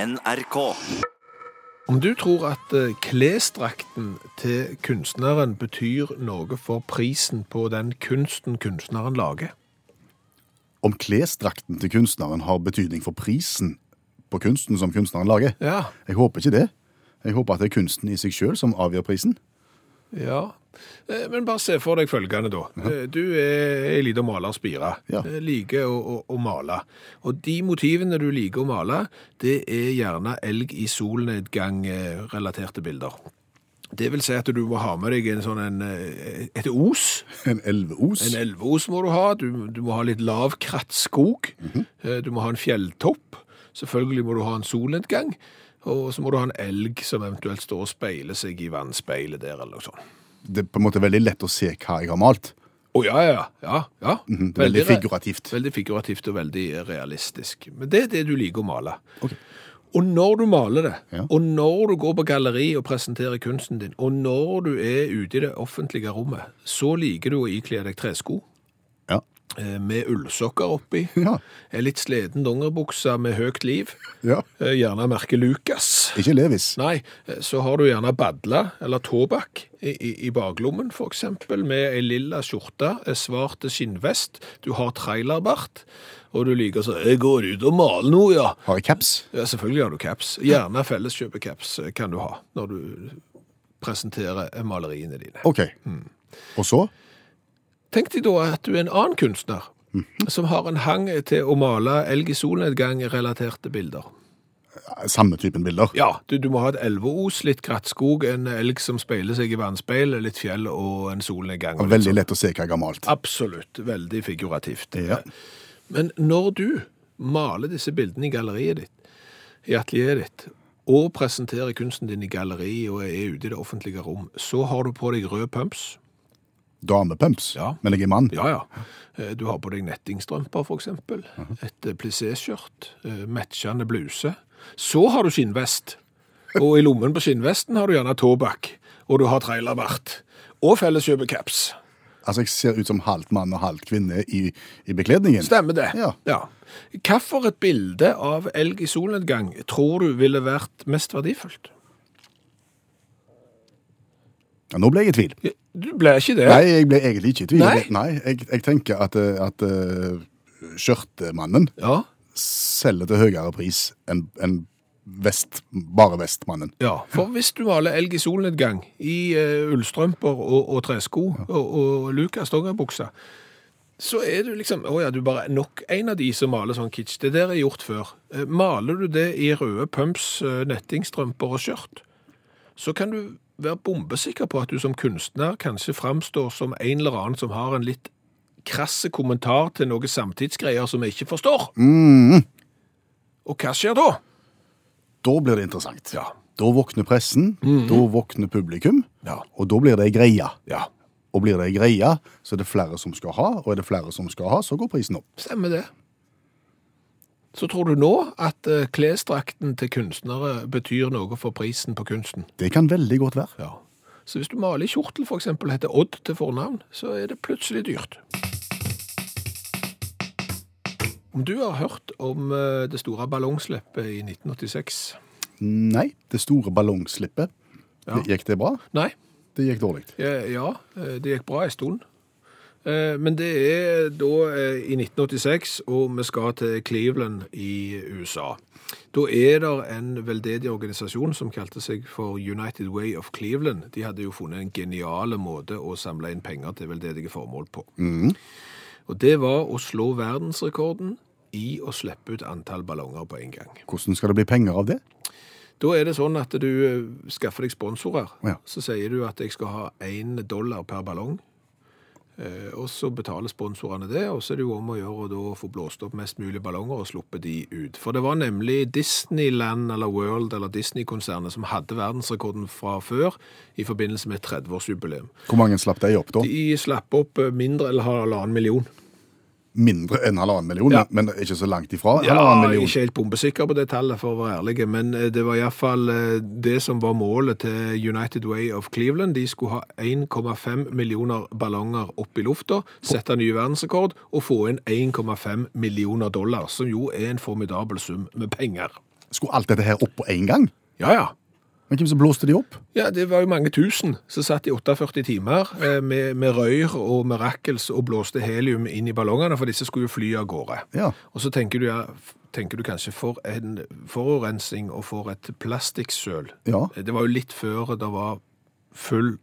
NRK. Om du tror at eh, klesdrakten til kunstneren betyr noe for prisen på den kunsten kunstneren lager? Om klesdrakten til kunstneren har betydning for prisen på kunsten som kunstneren lager? Ja. Jeg håper ikke det. Jeg håper at det er kunsten i seg sjøl som avgjør prisen. Ja. Eh, Men bare se for deg følgende, da. Eh, Du er ei lita malerspire. Ja. Eh, Liker å, å, å male. Og de motivene du liker å male, det er gjerne elg i solnedgang-relaterte bilder. Det vil si at du må ha med deg en sånn en, eh, et os. En elveos. En elveos må du ha. Du, du må ha litt lav krattskog. Mhm. Eh, Du må ha en fjelltopp. Selvfølgelig må du ha en solnedgang. Og så må du ha en elg som eventuelt står og speiler seg i vannspeilet der, eller noe sånt. Det er på en måte veldig lett å se hva jeg har malt. Å ja, ja, ja. ja. Mhm, det er veldig re- figurativt. Veldig figurativt og veldig realistisk. Men det er det du liker å male. Og når du maler det, Ja. og når du går på galleri og presenterer kunsten din, og når du er ute i det offentlige rommet, så liker du å ikle deg tresko Ja. eh, med ullsokker oppi, Ja. en litt sliten dongeribukse med høyt liv, ja. eh, gjerne merket Lucas. Ikke Levis. Nei, eh, så har du gjerne badla eller tobakk i, i, i baklommen, for eksempel, med ei lilla skjorte, ei svart skinnvest, du har trailerbart, og du liker så 'Jeg går ut og maler nå, ja'. Har jeg caps? ja. Selvfølgelig har du caps. Gjerne felleskjøpecaps eh, kan du ha når du presenterer eh, maleriene dine. OK. Hmm. Og så? Tenk deg da at du er en annen kunstner som har en hang til å male elg i solnedgang-relaterte bilder. eh, Samme typen bilder. Ja, du, du må ha et elveos, litt grattskog, en elg som speiler seg i vannspeilet, litt fjell og en solnedgang. og litt Veldig sånn. lett å se hva jeg har malt. Absolutt. Veldig figurativt. Ja. Men når du maler disse bildene i galleriet ditt, i atelieret ditt, og presenterer kunsten din i galleriet og er ute i det offentlige rom, så har du på deg rød pumps. Damepumps. Ja. Men jeg er mann. Ja, ja. Eh, Du har på deg nettingstrømper, for eksempel. Mhm. Et eh, plissé-skjørt. eh, Matchende bluse. Så har du skinnvest. Og i lommen på skinnvesten har du gjerne tobakk. Og du har trailerbart. Og felleskjøpecaps. Altså, jeg ser ut som halvt mann og halvt kvinne i, i bekledningen. Stemmer det? Ja. ja. Hvilket bilde av elg i solnedgang tror du ville vært mest verdifullt? Ja, nå ble jeg i tvil. Du ble ikke det? Nei, jeg ble egentlig ikke i tvil. Nei? jeg, jeg tenker at, eh, at eh, skjørtemannen Ja. selger til høyere pris enn enn vest, bare vestmannen. Ja, for hvis du maler elg i solnedgang, i eh, ullstrømper og, og tresko og, og Lucas dongeribukse, så er du liksom Å ja, du bare er nok en av de som maler sånn kitsch. Det der er gjort før. Eh, Maler du det i røde pumps, eh, nettingstrømper og skjørt, så kan du være bombesikker på at du som kunstner kanskje framstår som en eller annen som har en litt krasse kommentar til noe samtidsgreier som vi ikke forstår. Mm. Og hva skjer da? Da blir det interessant. Ja. Mm. Da våkner pressen, da våkner publikum, Ja. og da blir det ei greie. Ja. Og blir det ei greie, så er det flere som skal ha, og er det flere som skal ha, så går prisen opp. Stemmer det. Så tror du nå at eh, klesdrakten til kunstnere betyr noe for prisen på kunsten? Det kan veldig godt være. Ja. Så hvis du maler i kjortel for eksempel, heter Odd til fornavn, så er det plutselig dyrt. Om du har hørt om eh, det store ballongslippet i 1986? Nei, det store ballongslippet. Ja. Gikk det bra? Nei? Det gikk dårlig. Eh, Ja, eh, det gikk bra en stund. Eh, Men det er da eh, i 1986, og vi skal til Cleveland i USA. Da er det en veldedig organisasjon som kalte seg for United Way of Cleveland. De hadde jo funnet en geniale måte å samle inn penger til veldedige formål på. Og det var å slå verdensrekorden i å slippe ut antall ballonger på en gang. Hvordan skal det bli penger av det? Da er det sånn at du eh, skaffer deg sponsorer. Ja. Så sier du at jeg skal ha én dollar per ballong. Eh, og så betaler sponsorene det, og så er det jo om å gjøre å da få blåst opp mest mulig ballonger og sluppet de ut. For det var nemlig Disneyland eller World eller Disney-konsernet som hadde verdensrekorden fra før i forbindelse med 30-årsjubileum. Hvor mange slapp de opp da? De slapp opp eh, mindre eller halvannen million. Mindre enn halvannen million, Ja. men men ikke så langt ifra. Ja, halvannen jeg er million. ikke helt bombesikker på det tallet, for å være ærlig, men eh, det var iallfall eh, det som var målet til United Way of Cleveland. De skulle ha 1,5 millioner ballonger opp i lufta, sette ny verdensrekord og få inn 1,5 millioner dollar, som jo er en formidabel sum med penger. Skulle alt dette her opp på én gang? Ja, ja. Men hvem som blåste de opp? Ja, Det var jo mange tusen som satt i 48 timer eh, med, med røyr og med rakkels og blåste helium inn i ballongene, for disse skulle jo fly av gårde. Ja. Og så tenker du, ja, tenker du kanskje for en forurensning og for et plastikksøl. Eh, Ja. Det var jo litt før det var full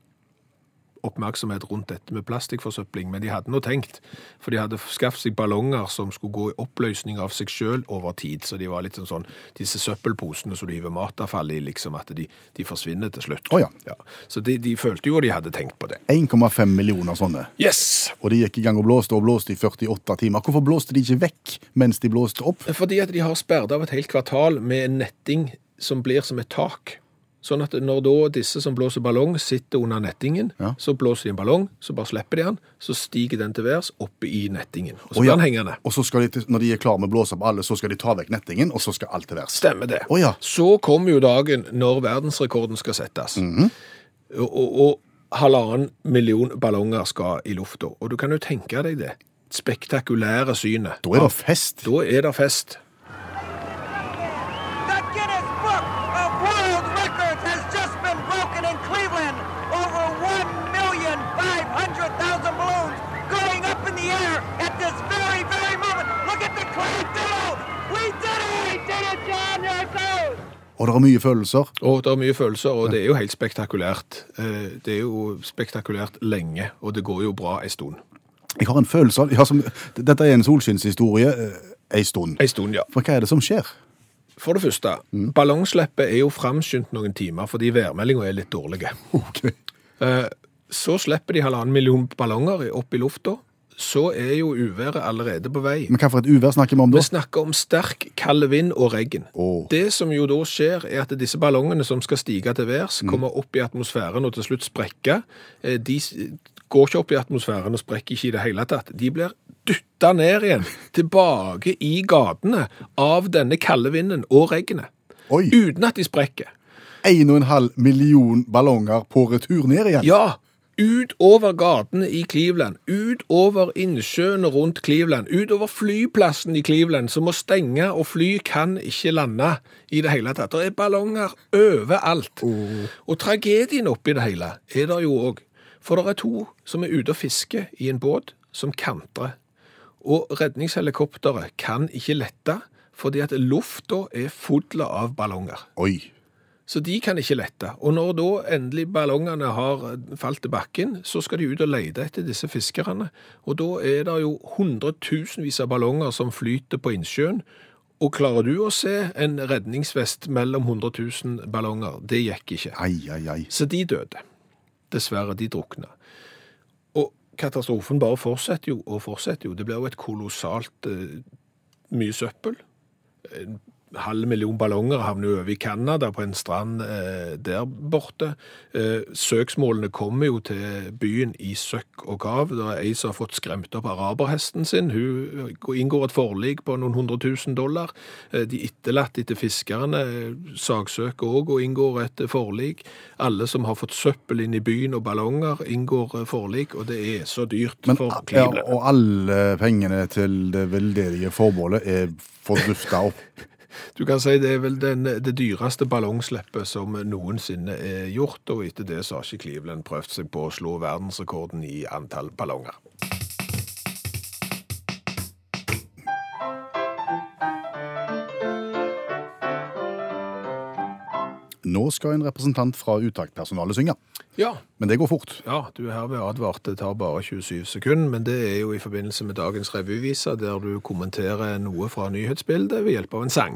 oppmerksomhet rundt dette med plastikkforsøpling, men de hadde nå tenkt, for de hadde skaffet seg ballonger som skulle gå i oppløsning av seg selv over tid, så de var litt sånn sånn, disse søppelposene som du hiver matavfall i, liksom at de, de forsvinner til slutt. Å ja. Så de, de følte jo de hadde tenkt på det. 1,5 millioner sånne. Yes! Og de gikk i gang og blåste og blåste i 48 timer. Hvorfor blåste de ikke vekk mens de blåste opp? Fordi at de har sperret av et helt kvartal med en netting som blir som et tak. Sånn at når da disse som blåser ballong sitter under nettingen, Ja. så blåser de en ballong, så bare slipper de den, så stiger den til værs oppe i nettingen. Og så Å, blir ja. den hengende. Og så skal de, til- når de er klar med å blåse opp alle, så skal de ta vekk nettingen, og så skal alt til værs. Stemmer det. Å, ja. Så kommer jo dagen når verdensrekorden skal settes. Mhm. og, og, og halvannen million ballonger skal i lufta. Og du kan jo tenke deg det. Spektakulære synet. Da er det fest. Da er det fest. The Guinness Book of World Records has just been broken in Cleveland. Over 1,500,000 balloons going up in the air at this very, very moment. Look at the crowd go! We did it! We did it, John! There it goes! Og det er mye følelser. Og det er mye følelser, og det er jo helt spektakulært. Eh, Det er jo spektakulært lenge, og det går jo bra ei stund. Jeg har en følelse av jeg har som, Dette er en solskinnshistorie eh, ei stund. Ei stund, ja. For hva er det som skjer? For det første, ballongslippet er jo framskyndt noen timer fordi værmeldinga er litt dårlig. Ok. Eh, Så slipper de halvannen million ballonger i- opp i lufta. Så er jo uværet allerede på vei. Men hva for et uvær snakker vi om Vi da? snakker om sterk, kald vind og regn. Åh. Det som jo da skjer, er at disse ballongene som skal stige til værs, kommer opp i atmosfæren og til slutt sprekker. Eh, De s- går ikke opp i atmosfæren og sprekker ikke i det hele tatt. De blir dytta ned igjen, tilbake i gatene, av denne kalde vinden og regnet. Oi! Uten at de sprekker. 1,5 million ballonger på retur ned igjen. Ja, utover gatene i Cleveland, utover innsjøene rundt Cleveland, utover flyplassen i Cleveland, som må stenge, og fly kan ikke lande i det hele tatt. Det er ballonger overalt. Og tragedien oppi det hele er der jo òg. For det er to som er ute og fisker i en båt som kantrer. Og redningshelikopteret kan ikke lette, fordi at lufta er full av ballonger. Oi. Så de kan ikke lette. Og når da endelig ballongene har falt til bakken, så skal de ut og lete etter disse fiskerne. Og da er det jo hundretusenvis av ballonger som flyter på innsjøen. Og klarer du å se en redningsvest mellom 100 000 ballonger? Det gikk ikke. Ai, ai, ai. Så de døde. Dessverre, de drukna. Og katastrofen bare fortsetter jo og fortsetter jo. Det blir jo et kolossalt eh, mye søppel. En halv million ballonger havner jo over i Canada, på en strand eh, der borte. Eh, søksmålene kommer jo til byen i søkk og kav. Det er ei som har fått skremt opp araberhesten sin. Hun eh, inngår et forlik på noen hundre tusen dollar. Eh, de etterlatte etter fiskerne eh, saksøker òg og inngår et eh, forlik. Alle som har fått søppel inn i byen og ballonger, inngår eh, forlik, og det er så dyrt Men, for ja, Cleveland. og alle pengene til det veldedige formålet er fordufta opp. Du kan si det er vel den, det dyreste ballongslippet som noensinne er gjort, og etter det så har ikke Cleveland prøvd seg på å slå verdensrekorden i antall ballonger. Nå skal en representant fra uttaktpersonalet synge. Ja, Men det går fort. ja du er herved advart. Det tar bare 27 sekunder, men det er jo i forbindelse med dagens revyvise, der du kommenterer noe fra nyhetsbildet ved hjelp av en sang.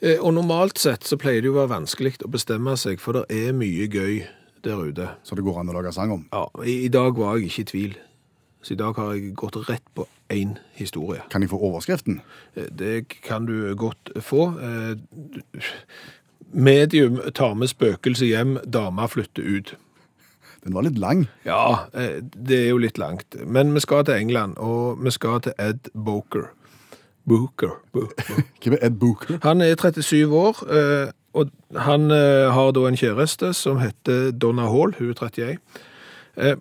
Eh, Og normalt sett så pleier det jo å være vanskelig å bestemme seg, for det er mye gøy der ute. Så det går an å lage sang om. Ja, i, i dag var jeg ikke i tvil. Så i dag har jeg gått rett på én historie. Kan jeg få overskriften? Eh, Det kan du godt få. Eh, du- Medium tar med spøkelse hjem, dama flytter ut. Den var litt lang. Ja, eh, det er jo litt langt. Men vi skal til England, og vi skal til Ed Boker. Booker. Bo- Bo- Hvem er Ed Booker? Han er 37 år, eh, og han eh, har da en kjæreste som heter Donna Hall, hun er 31. Eh,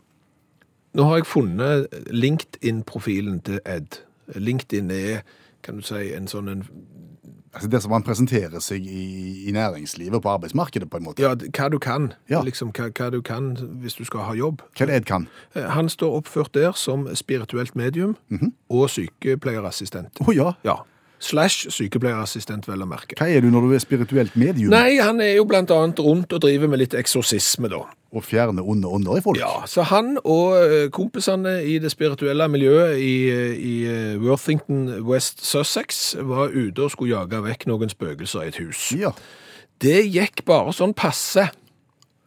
Nå har jeg funnet LinkedIn-profilen til Ed. LinkedIn er, kan du si, en sånn en Altså det som man presenterer seg i, i næringslivet, på arbeidsmarkedet, på en måte. Ja, d- hva du kan. Ja. Liksom, hva, hva du kan hvis du skal ha jobb. Hva er det Ed kan? Eh, Han står oppført der som spirituelt medium og sykepleierassistent. Å ja. Ja. Slash sykepleierassistent, vel å merke. Hva er du når du er spirituelt medium Nei, han er jo blant annet rundt og driver med litt eksorsisme, da. og fjerner onde ånder i folk? Ja, Så han og eh, kompisene i det spirituelle miljøet i, i eh, Worthington West Sussex var ute og skulle jage vekk noen spøkelser i et hus. ja. Det gikk bare sånn passe.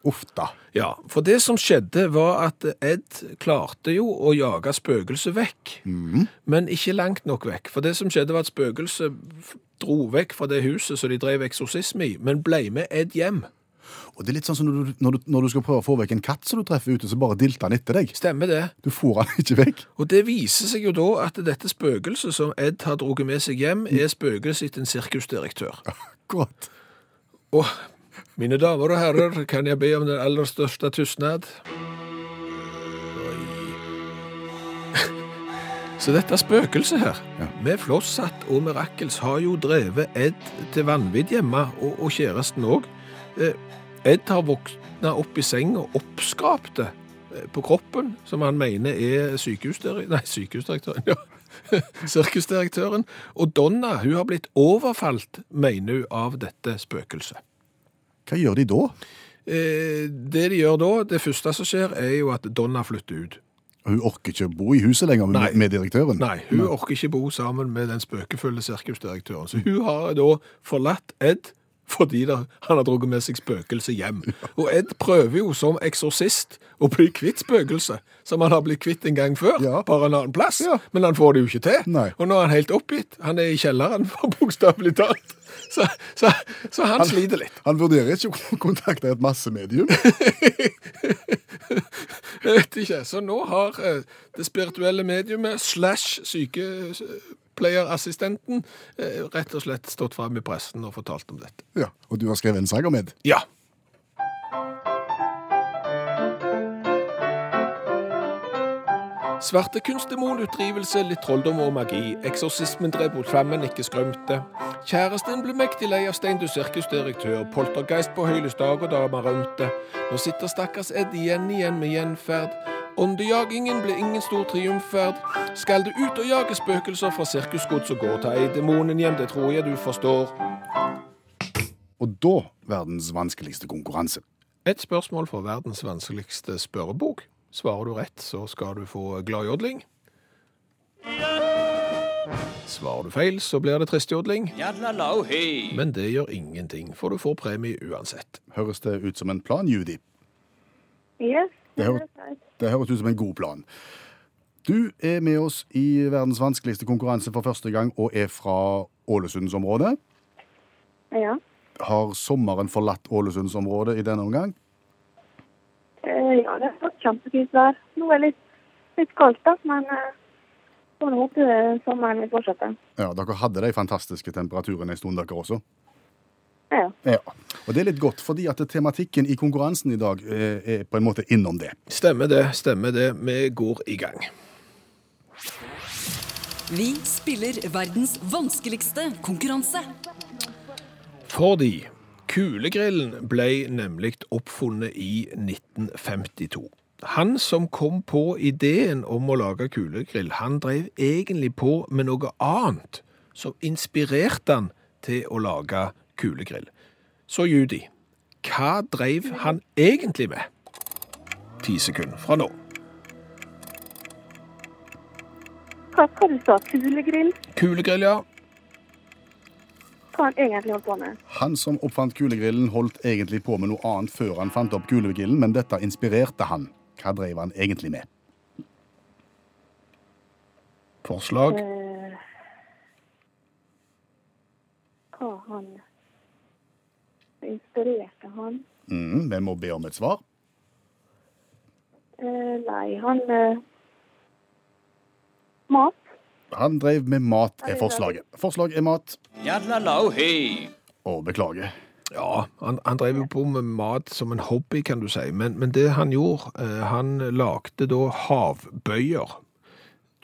Uff da. Ja, for det som skjedde var at Ed klarte jo å jage spøkelset vekk, men ikke langt nok vekk. For det som skjedde var at spøkelset f- dro vekk fra det huset som de drev eksorsisme i, men ble med Ed hjem. Og det er litt sånn som når du, når du, når du skal prøve å få vekk en katt som du treffer ute, så bare dilter han etter deg. Stemmer det? Du får han ikke vekk. Og det viser seg jo da at dette spøkelset som Ed har drukket med seg hjem, er spøkelset til en sirkusdirektør. Godt. Og mine damer og herrer, kan jeg be om den aller største tystnad? Så dette spøkelset her, med flosshatt og mirakels, har jo drevet Ed til vanvidd hjemme, og, og kjæresten òg. Eh, Ed har våkna opp i senga oppskrapte eh, på kroppen, som han mener er sykehusdirektøren Nei, sykehusdirektøren, ja. Sirkusdirektøren. Og Donna hun har blitt overfalt, mener hun, av dette spøkelset. Hva gjør de da? Eh, Det de gjør da, det første som skjer, er jo at Donna flytter ut. Hun orker ikke å bo i huset lenger Nei. med, med direktøren. Nei, hun orker ikke bo sammen med den spøkefulle sirkusdirektøren. Så hun har da forlatt Ed fordi da, han har drukket med seg spøkelse hjem. Og Ed prøver jo som eksorsist å bli kvitt spøkelse, som han har blitt kvitt en gang før, Ja. bare en annen plass. Ja. Men han får det jo ikke til. Nei. Og nå er han helt oppgitt. Han er i kjelleren, for bokstavelig talt. Så, så, så han, sliter litt. Han vurderer ikke å kontakte et massemedium. Jeg vet ikke. Så nå har eh, det spirituelle mediumet slash sykepleierassistenten eh, rett og slett stått fram i pressen og fortalt om dette. Ja, og du har skrevet en sang om Ed. Ja. Svartekunstdemon, utdrivelse, litt trolldom og magi. Eksorsismen drev mot flammen, ikke skrømte. Kjæresten ble mektig lei av Stein du sirkusdirektør. Poltergeist på høylys dag og dama rømte. Nå sitter stakkars Ed igjen igjen med gjenferd. Åndejagingen ble ingen stor triumferd. Skal du ut og jage spøkelser fra sirkusgods og gå, ta ei demonen hjem, det tror jeg du forstår. Og da verdens vanskeligste konkurranse. Et spørsmål fra verdens vanskeligste spørrebok. Svarer du rett, så skal du få gladjodling. Svarer du feil, så blir det tristjodling. Yadlalau, hey. Men det gjør ingenting, for du får premie uansett. Høres det ut som en plan, Judy? Yes. Det høres, det høres ut som en god plan. Du er med oss i verdens vanskeligste konkurranse for første gang, og er fra Ålesundsområdet. Ja. Har sommeren forlatt Ålesundsområdet i denne omgang? Eh, ja, det har vært kjempefint vær. Nå er det litt, litt kaldt, da, men eh, får nå håpe eh, sommeren vil fortsette. Ja, dere hadde de fantastiske temperaturene en stund, dere også. Ja. Ja. Og det er litt godt, fordi at tematikken i konkurransen i dag eh, er på en måte innom det. Stemmer det, stemmer det. Vi går i gang. Vi spiller verdens vanskeligste konkurranse. Fordi kulegrillen ble nemlig oppfunnet i 1952. Han som kom på ideen om å lage kulegrill, han drev egentlig på med noe annet som inspirerte han til å lage kulegrill. Så Judy, hva drev han egentlig med? Ti sekunder fra nå. Hva, hva du sa Kulegrill? Kulegrill, ja. Hva han egentlig holdt på med? Han som oppfant kulegrillen, holdt egentlig på med noe annet før han fant opp kulegrillen, men dette inspirerte han. Hva drev han egentlig med? Forslag. Eh, hva han Inspirerte han? Mm, vi må be om et svar. Eh, nei, han eh, Mat? Han drev med mat, er forslaget. Forslag er mat. Yadlalau, hey. Å, beklager. Ja, han, han drev jo på med mat som en hobby, kan du si. Men, men det han gjorde, eh, han lagde da havbøyer.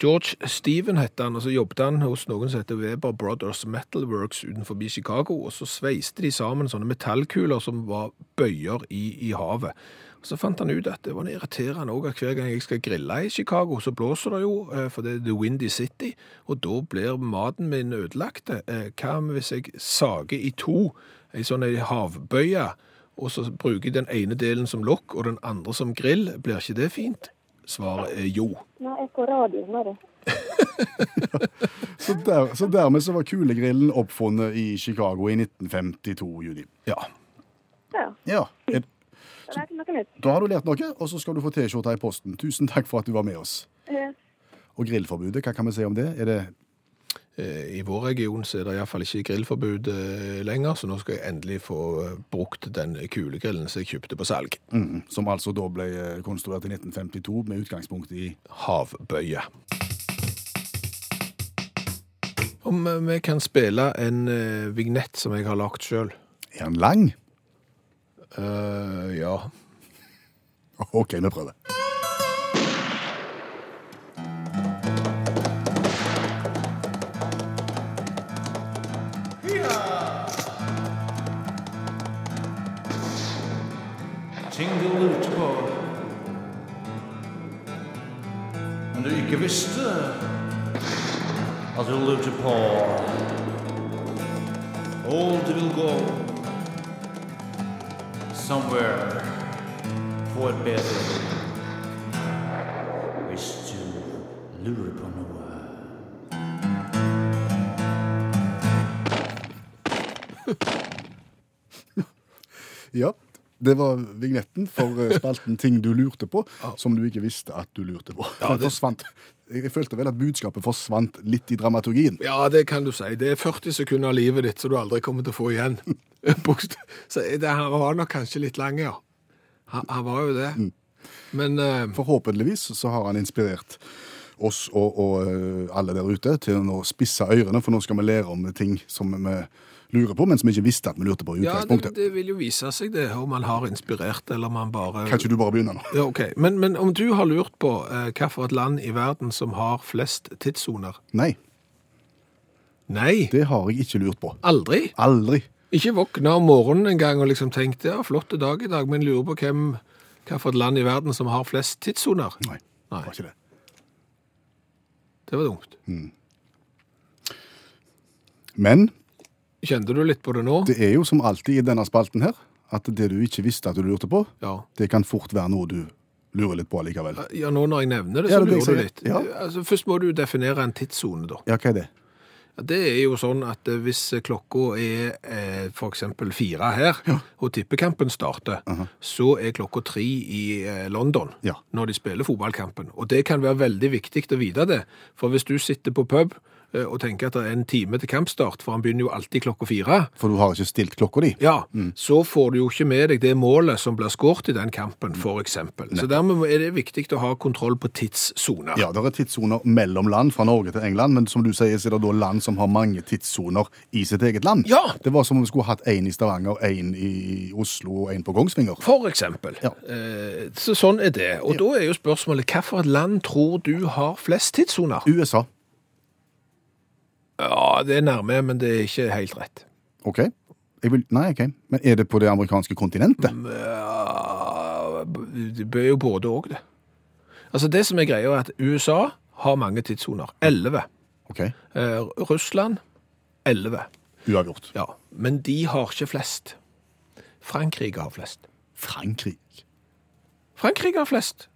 George Steven het han, og så jobbet han hos noen som heter Weber Brothers Metalworks utenfor Chicago, og så sveiste de sammen sånne metallkuler som var bøyer i, i havet. Og så fant han ut at det var noe irriterende også, at hver gang jeg skal grille i Chicago, så blåser det jo, eh, for det er The Windy City, og da blir maten min ødelagt. Eh, Hva hvis jeg sager i to ei sånn ei havbøye, og så bruker jeg den ene delen som lokk og den andre som grill? Blir ikke det fint? Svaret er jo. Nei, jeg får radioen bare. Så, der, så dermed så var kulegrillen oppfunnet i Chicago i 1952, Judy. Ja. Ja, Ja, et, da lærte jeg noe nytt. da har du lært noe, og så skal du få T-skjorta i posten. Tusen takk for at du var med oss. Eh, Og grillforbudet, hva kan vi si om det? Er det Eh, I vår region så er det iallfall ikke grillforbud eh, lenger, så nå skal jeg endelig få eh, brukt den kulegrillen som jeg kjøpte på salg. mm, som altså da ble eh, konstruert i 1952 med utgangspunkt i Havbøye. Om eh, vi kan spille en eh, vignett som jeg har lagd sjøl? Er den lang? Eh, ja. OK, vi prøver. Tingle lute på. Men du ikke visste at du lurte på. Old will go somewhere for bedre. Hvis du lurer på noe. Ja, det var vignetten for eh, spalten Ting du lurte på, som du ikke visste at du lurte på. Den forsvant. Jeg følte vel at budskapet forsvant litt i dramaturgien. Ja, det kan du si. Det er 40 sekunder av livet ditt som du aldri kommer til å få igjen. Bokst- så eh, det, han var nok kanskje litt lang, ja. Han, han var jo det. Men eh, Forhåpentligvis så har han inspirert oss og, og eh, alle der ute til å nå spisse ørene, for nå skal vi lære om ting som vi lurer på, men som vi ikke visste at vi lurte på i Ja, det, utgangspunktet. det vil jo vise seg det, om man har inspirert, eller om man bare Kan ikke du bare begynne nå? Ja, ok. Men, men om du har lurt på eh, hvilket land i verden som har flest tidssoner? Nei, Nei, det har jeg ikke lurt på. aldri. Aldri. Ikke våkna om morgenen en gang og liksom tenkte ja, flott dag i dag, men lurer på hvem, hvilket land i verden som har flest tidssoner. Nei, det Nei. var ikke det. Mm. Det var dumt. Men Kjente du litt på det nå? det er jo som alltid i denne spalten her, at det du ikke visste at du lurte på, Ja. det kan fort være noe du lurer litt på likevel. Ja, nå når jeg nevner det, så Ja, det er det lurer du jeg litt. sier. Ja. Altså, først må du definere en tidssone, da. Ja, hva er det? Ja, Det er jo sånn at eh, hvis klokka er eh, for eksempel fire her, og tippekampen starter, så er klokka tre i eh, London Ja. når de spiller fotballkampen. Og det kan være veldig viktig å vite det, for hvis du sitter på pub eh, og tenker at det er en time til kampstart, for han begynner jo alltid klokka fire, For du har ikke stilt klokka di. ja, så får du jo ikke med deg det målet som blir skåret i den kampen, for eksempel. Så dermed er det viktig å ha kontroll på tidssoner. Ja, det er tidssoner mellom land, fra Norge til England, men som du sier, så er det da land som har mange tidssoner i sitt eget land. Ja! Det var som om vi skulle hatt én i Stavanger, én i Oslo og én på Kongsvinger. For eksempel. Ja. Eh, Så sånn er det. Og da er jo spørsmålet, hvilket land tror du har flest tidssoner? USA. Ja, det er nærme, men det er ikke helt rett. OK. Jeg vil, nei, OK. Men er det på det amerikanske kontinentet? Mm. Ja, Det bør jo både og det. Altså det som er greia er at USA har mange tidssoner. 11. OK. Eh, Russland, 11. Uavgjort. Ja, men de har ikke flest. Frankrike har flest. Frankrike. Frankrike har flest.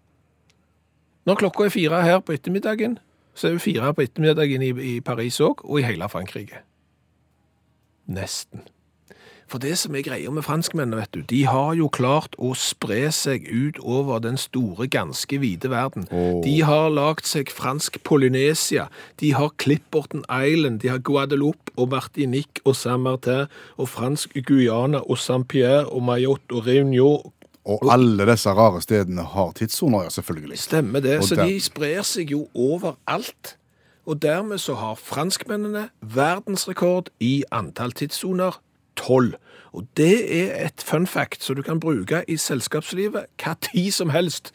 Når klokka er fire her på ettermiddagen, så er det fire på ettermiddagen i, i Paris òg, og i hele Frankrike. Nesten. For det som er greia med franskmennene, vet du, de har jo klart å spre seg ut over den store, ganske vide verden. De har lagd seg fransk Polynesia, de har Clipperton Island, de har Guadeloupe og Martinique og Saint-Martin og fransk Guyana og Saint-Pierre og Mayotte og Réunion Og alle disse rare stedene har tidssoner, ja, selvfølgelig. Stemmer det. Og Så der- de sprer seg jo overalt. Og dermed så har franskmennene verdensrekord i antall tidssoner 12. Og det er et fun fact som du kan bruke i selskapslivet hva tid som helst.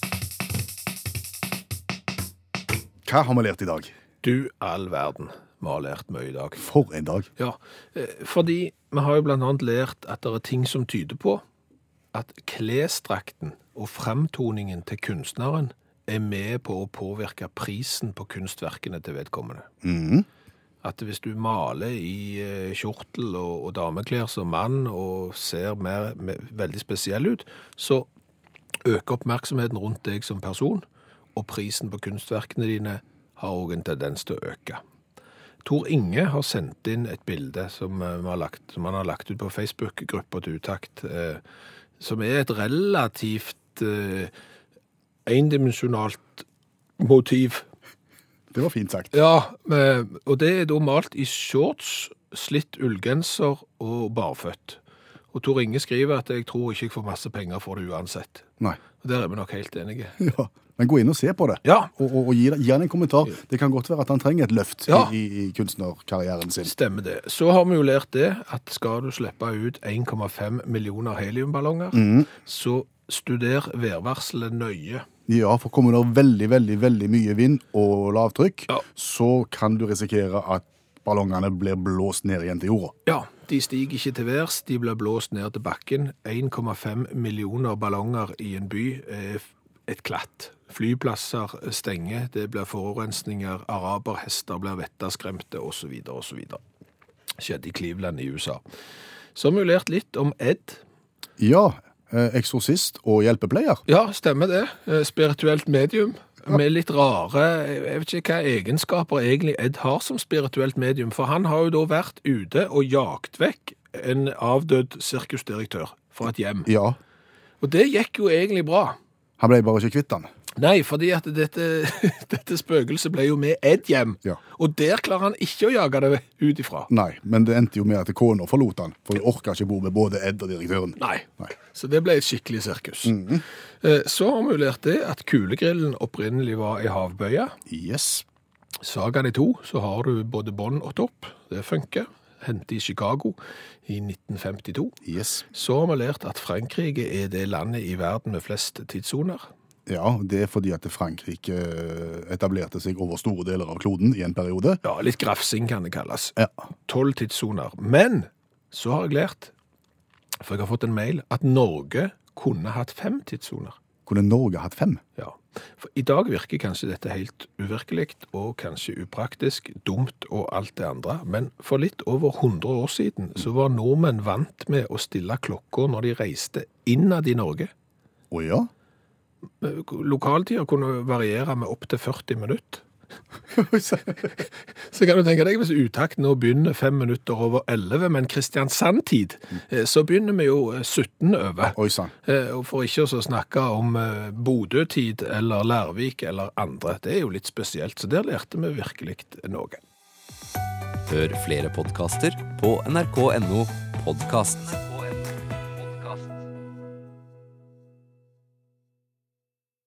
Hva har vi lært i dag? Du all verden, vi har lært mye i dag. For en dag. Ja, eh, fordi vi har jo blant annet lært at det er ting som tyder på at klesdrakten og fremtoningen til kunstneren er med på å påvirke prisen på kunstverkene til vedkommende. At hvis du maler i eh, kjortel og, og dameklær som mann og ser mer, me- veldig spesiell ut, så øker oppmerksomheten rundt deg som person, og prisen på kunstverkene dine har òg en tendens til å øke. Tor Inge har sendt inn et bilde som, eh, vi har lagt, som han har lagt ut på Facebook-gruppa til Utakt, eh, som er et relativt eh, endimensjonalt motiv. Det var fint sagt. Ja, men- og det er da malt i shorts, slitt ullgenser og barføtt. Og Tor Inge skriver at jeg tror ikke jeg får masse penger for det uansett. Nei. Og Der er vi nok helt enige. Ja. Men gå inn og se på det. Ja. Og, og, og gi, det- gi han en kommentar. Det kan godt være at han trenger et løft Ja. i, i, i kunstnerkarrieren sin. Stemmer det. Så har vi jo lært det at skal du slippe ut 1,5 millioner heliumballonger, så studer værvarselet nøye. Ja, for kommer det veldig, veldig, veldig mye vind og lavtrykk, Ja. så kan du risikere at ballongene blir blåst ned igjen til jorda. Ja, de stiger ikke til værs, de blir blåst ned til bakken. 1,5 millioner ballonger i en by er f- et klatt. Flyplasser stenger, det blir forurensninger, araberhester blir vettaskremte, osv. osv. Skjedde i Cleveland i USA. Så har vi jo lært litt om Ed. Ja, eh, eksorsist og hjelpepleier. Ja, stemmer det. Eh, Spirituelt medium. Med litt rare Jeg vet ikke hva egenskaper egentlig Ed har som spirituelt medium. For han har jo da vært ute og jagt vekk en avdød sirkusdirektør fra et hjem. Ja, Og det gikk jo egentlig bra. han ble bare ikke kvitt han. Nei, fordi at dette, dette spøkelset ble jo med Ed hjem. Ja. Og der klarer han ikke å jage det ut ifra. Nei, men det endte jo med at kona forlot han, for hun orka ikke bo med både Ed og direktøren. Nei. Nei. Så det ble et skikkelig sirkus. Eh, Så har vi jo lært det at kulegrillen opprinnelig var ei havbøye. Yes. Sag den i to, så har du både bånd og topp. Det funker. Hentet i Chicago i 1952. Yes. Så har vi lært at Frankrike er det landet i verden med flest tidssoner. Ja, det er fordi at Frankrike eh, etablerte seg over store deler av kloden i en periode. Ja, litt grafsing kan det kalles. Ja. Tolv tidssoner. Men så har jeg lært, for jeg har fått en mail, at Norge kunne hatt fem tidssoner. Kunne Norge hatt fem? Ja. For I dag virker kanskje dette helt uvirkelig og kanskje upraktisk, dumt og alt det andre, men for litt over 100 år siden så var nordmenn vant med å stille klokka når de reiste innad i Norge. Å ja? Lokaltider kunne variere med opptil 40 minutter. ja, Så kan du tenke deg hvis utakt nå begynner fem minutter over 11, men Kristiansand-tid, eh, så begynner vi jo eh, 17 over. Oi sann. Eh, Og for ikke å snakke om eh, Bodø-tid eller Lærvik eller andre. Det er jo litt spesielt, så der lærte vi virkelig noe. Hør flere podkaster på nrk.no podkast.